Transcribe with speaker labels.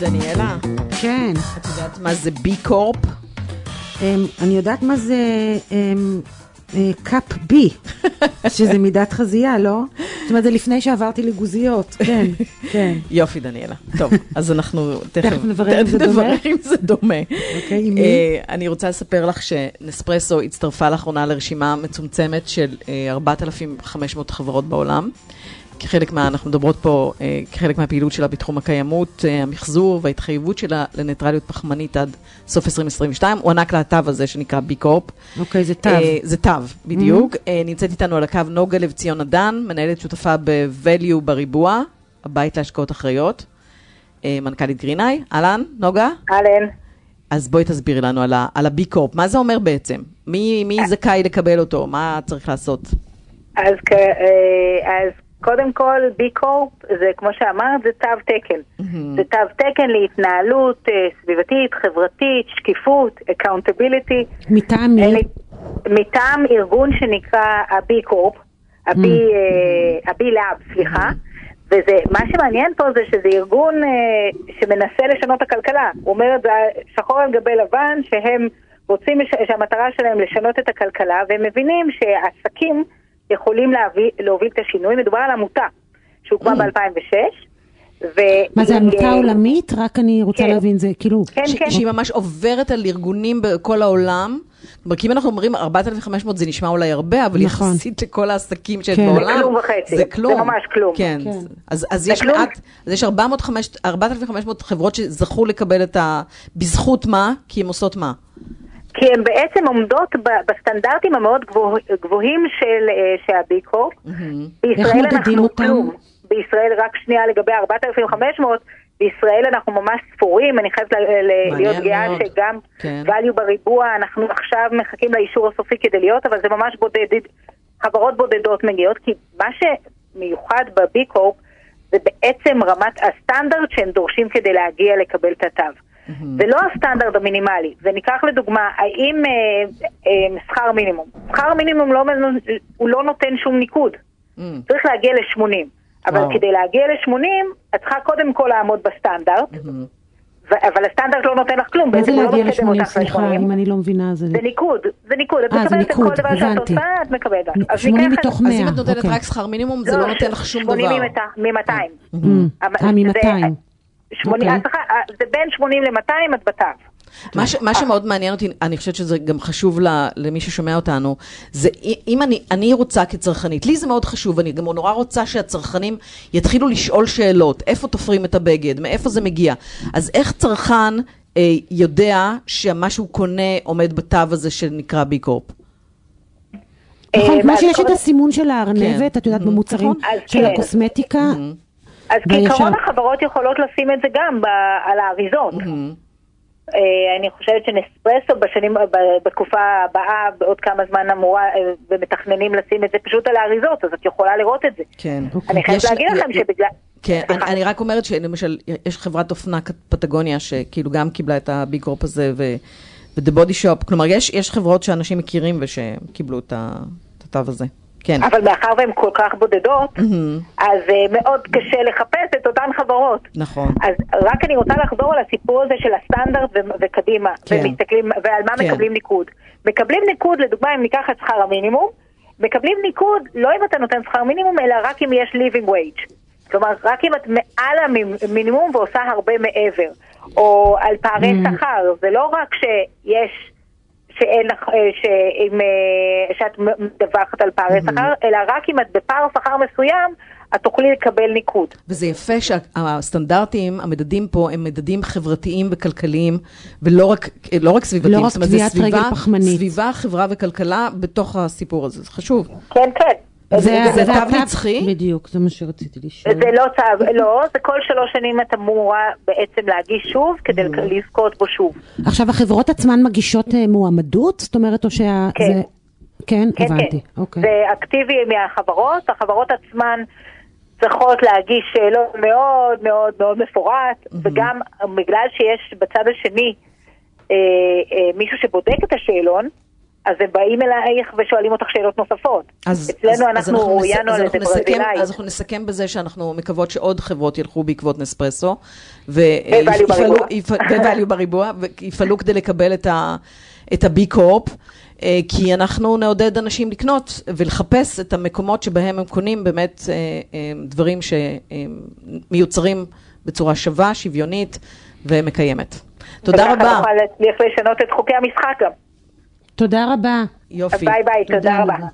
Speaker 1: דניאלה,
Speaker 2: כן.
Speaker 1: את יודעת מה זה בי קורפ?
Speaker 2: אמ, אני יודעת מה זה אמ, אה, קאפ בי, שזה מידת חזייה, לא? זאת אומרת, זה לפני שעברתי לגוזיות, כן, כן.
Speaker 1: יופי, דניאלה. טוב, אז אנחנו תכף
Speaker 2: תכף נברר אם זה דומה.
Speaker 1: נברר אם זה דומה.
Speaker 2: אוקיי, עם מי?
Speaker 1: אה, אני רוצה לספר לך שנספרסו הצטרפה לאחרונה לרשימה מצומצמת של אה, 4,500 חברות בעולם. כחלק מה, אנחנו מדברות פה, אה, כחלק מהפעילות שלה בתחום הקיימות, אה, המחזור וההתחייבות שלה לניטרליות פחמנית עד סוף 2022, הוענק לה התו הזה שנקרא בי קורפ.
Speaker 2: אוקיי, זה תו.
Speaker 1: אה, זה תו, בדיוק. אה, נמצאת איתנו על הקו נוגה לב ציון אדן, מנהלת שותפה ב-value בריבוע, הבית להשקעות אחריות, אה, מנכ"לית גרינאי. אהלן, נוגה?
Speaker 3: אהלן.
Speaker 1: אז בואי תסבירי לנו על, ה- על הבי קורפ, מה זה אומר בעצם? מי, מי זכאי לקבל אותו? מה צריך לעשות?
Speaker 3: אז, כ- אה, אז קודם כל, בי קורפ, זה כמו שאמרת, זה תו תקן. זה תו תקן להתנהלות אה, סביבתית, חברתית, שקיפות, אקאונטביליטי.
Speaker 2: מטעם מי?
Speaker 3: מטעם ארגון שנקרא הבי קורפ,
Speaker 2: Mm.
Speaker 3: הבי אה, הבי לאב, סליחה. וזה, מה שמעניין פה זה שזה ארגון אה, שמנסה לשנות הכלכלה. הוא אומר את זה שחור על גבי לבן, שהם רוצים, לש- שהמטרה שלהם לשנות את הכלכלה, והם מבינים שעסקים יכולים להביא, להוביל את השינוי. מדובר על עמותה שהוקמה ב-2006.
Speaker 2: Mm.
Speaker 3: אה,
Speaker 2: מה זה עמותה עולמית? רק אני רוצה
Speaker 3: כן.
Speaker 2: להבין, זה כאילו...
Speaker 3: כן,
Speaker 1: ש-
Speaker 3: כן.
Speaker 1: שהיא ממש עוברת על ארגונים בכל העולם. כלומר, כי אם אנחנו אומרים 4,500 זה נשמע אולי הרבה, אבל
Speaker 2: נכון.
Speaker 1: יחסית לכל העסקים שיש
Speaker 2: כן. זה
Speaker 1: בעולם,
Speaker 3: כלום
Speaker 1: זה
Speaker 3: וחצי. זה
Speaker 1: כלום.
Speaker 3: ממש כלום.
Speaker 1: כן.
Speaker 2: כן.
Speaker 1: אז, אז
Speaker 3: זה
Speaker 1: יש
Speaker 3: כלום.
Speaker 1: מעט, אז יש 400, 500 4,500 חברות שזכו לקבל את ה... בזכות מה? כי הן עושות מה?
Speaker 3: כי הן בעצם עומדות ב- בסטנדרטים המאוד גבוה- גבוהים של, אה, של הביקורפ. בישראל
Speaker 2: איך מודדים
Speaker 3: אנחנו
Speaker 2: אותם?
Speaker 3: כלום. בישראל, רק שנייה לגבי 4,500, בישראל אנחנו ממש ספורים, אני חייבת ל- ל-
Speaker 1: מעניין
Speaker 3: להיות גאה
Speaker 1: מאוד.
Speaker 3: שגם
Speaker 1: כן.
Speaker 3: value בריבוע, אנחנו עכשיו מחכים לאישור הסופי כדי להיות, אבל זה ממש בודד, חברות בודדות מגיעות, כי מה שמיוחד בביקורפ זה בעצם רמת הסטנדרט שהם דורשים כדי להגיע לקבל את התו. זה לא הסטנדרט המינימלי, וניקח לדוגמה, האם אה, אה, שכר מינימום? שכר מינימום לא, מנ- הוא לא נותן שום ניקוד.
Speaker 1: Mm.
Speaker 3: צריך להגיע ל-80. אבל
Speaker 1: וואו.
Speaker 3: כדי להגיע ל-80, את צריכה קודם כל לעמוד בסטנדרט,
Speaker 1: Mm-hmm.
Speaker 3: ו- אבל הסטנדרט לא נותן לך כלום,
Speaker 2: מה זה
Speaker 3: בעצם הוא לא
Speaker 2: להגיע
Speaker 3: מקדם
Speaker 2: ל-80?
Speaker 3: אותך
Speaker 2: סליחה,
Speaker 3: ל-80.
Speaker 2: אם אני לא מבינה, זה...
Speaker 3: זה ניקוד, זה ניקוד, את
Speaker 2: אה, זה
Speaker 3: מקבלת את כל
Speaker 2: ניקוד,
Speaker 3: דבר שאת
Speaker 2: הבנתי.
Speaker 3: עושה, את מקבלת. אז
Speaker 2: 80
Speaker 3: ניקח את-
Speaker 2: מתוך
Speaker 1: אז
Speaker 2: 100.
Speaker 1: אם את נותנת
Speaker 2: אוקיי.
Speaker 1: רק שכר מינימום, זה לא נותן לך שום דבר.
Speaker 3: 80 מ-200.
Speaker 2: מ, אה, מ-200. אוקיי.
Speaker 3: אה, זה בין 80 ל-200 את בתו.
Speaker 1: מה, ש, מה שמאוד מעניין אותי, אני חושבת שזה גם חשוב ל, למי ששומע אותנו, זה אי- אם אני, אני רוצה כצרכנית, לי זה מאוד חשוב, אני גם נורא רוצה שהצרכנים יתחילו לשאול שאלות, איפה תופרים את הבגד, מאיפה זה מגיע. אז איך צרכן אה, יודע שמה שהוא קונה עומד בתו הזה שנקרא בי קורפ?
Speaker 2: נכון,
Speaker 3: אה,
Speaker 2: כמו
Speaker 3: ואז
Speaker 2: שיש את
Speaker 3: קודם-
Speaker 2: הסימון של הארנבת,
Speaker 1: כן.
Speaker 2: את יודעת,
Speaker 1: Mhm.
Speaker 2: במוצרים
Speaker 1: נכון.
Speaker 3: אז
Speaker 2: של
Speaker 3: כן.
Speaker 2: הקוסמטיקה.
Speaker 3: אז
Speaker 2: וישר-
Speaker 3: כעיקרון החברות יכולות לשים את זה גם ב, על האריזות. אה, אני חושבת שנספרסו בשנים, ב- בתקופה הבאה, בעוד כמה זמן אמורה, אה, ומתכננים לשים את זה פשוט על האריזות, אז את יכולה לראות את זה.
Speaker 1: כן.
Speaker 2: אוקיי.
Speaker 3: אני חייבת
Speaker 1: יש-
Speaker 3: להגיד לכם
Speaker 1: י-
Speaker 3: שבגלל...
Speaker 1: כן, אני,
Speaker 3: סליחה.
Speaker 1: אני רק אומרת שלמשל, יש חברת אופנה כ- פטגוניה שכאילו גם קיבלה את הביג קורפ הזה ו... ודה בודי שופ, כלומר יש, יש חברות שאנשים מכירים ושקיבלו את ה- את התו הזה. כן. Mm-hmm.
Speaker 3: אבל מאחר והן כל כך בודדות, אז אה, מאוד קשה לחפש את אותן חברות.
Speaker 1: נכון.
Speaker 3: אז רק אני רוצה לחזור על הסיפור הזה של הסטנדרט ו- וקדימה,
Speaker 1: כן.
Speaker 3: ומסתכלים, ועל מה
Speaker 1: כן.
Speaker 3: מקבלים ניקוד. מקבלים ניקוד, לדוגמה, אם ניקח את שכר המינימום, מקבלים ניקוד לא אם אתה נותן שכר מינימום, אלא רק אם יש living wage. כלומר, רק אם את מעל המינימום ועושה הרבה מעבר. או על פערי שכר, זה לא רק שיש... שאין לך, אה, שאם, אה, שאת מ- מדווחת על פערי שכר, אלא רק אם את בפער שכר מסוים, את תוכלי לקבל ניקוד.
Speaker 1: וזה יפה שהסטנדרטים, המדדים פה, הם מדדים חברתיים וכלכליים, ולא רק, לא רק סביבתיים.
Speaker 2: לא רק
Speaker 1: זאת אומרת, זה
Speaker 2: קביעת רגל
Speaker 1: סביבה-
Speaker 2: פחמנית.
Speaker 1: סביבה, חברה וכלכלה בתוך הסיפור הזה, זה חשוב.
Speaker 3: כן, כן.
Speaker 1: זה- זה
Speaker 2: התו-
Speaker 1: תו נצחי?
Speaker 2: בדיוק, זה מה שרציתי לשאול.
Speaker 1: כן.
Speaker 3: זה לא צו, לא, זה כל שלוש שנים את אמורה בעצם להגיש שוב כדי לזכות בו שוב.
Speaker 2: עכשיו, החברות עצמן מגישות אה, מועמדות? זאת אומרת, או שה...
Speaker 3: כן.
Speaker 2: זה- כן,
Speaker 3: כן,
Speaker 2: הבנתי.
Speaker 3: כן.
Speaker 2: אוקיי.
Speaker 3: זה אקטיבי מהחברות, החברות עצמן צריכות להגיש שאלות מאוד מאוד מאוד מפורט, וגם בגלל שיש בצד השני אה, אה, מישהו שבודק את השאלון, אז הם באים אלייך ושואלים אותך שאלות נוספות.
Speaker 1: אז,
Speaker 3: אצלנו
Speaker 1: אז, אז
Speaker 3: אנחנו
Speaker 1: נס-
Speaker 3: רואיינו
Speaker 1: אז
Speaker 3: על
Speaker 1: אנחנו
Speaker 3: איזה
Speaker 1: נסכם-
Speaker 3: ברזילאי.
Speaker 1: אז אנחנו נסכם בזה שאנחנו מקוות שעוד חברות ילכו בעקבות נספרסו. אה,
Speaker 3: ו-value בריבוע.
Speaker 1: ו-value בריבוע. ויפעלו כדי לקבל את ה- את ה-B-Corp, אה, כי אנחנו נעודד אנשים לקנות ולחפש את המקומות שבהם הם קונים באמת אה, אה, דברים שמיוצרים בצורה שווה, שוויונית ומקיימת. תודה
Speaker 3: וככה
Speaker 1: רבה.
Speaker 3: נוכל להצליח לשנות את חוקי המשחק גם.
Speaker 2: תודה רבה.
Speaker 1: יופי.
Speaker 3: ביי ביי, תודה רבה.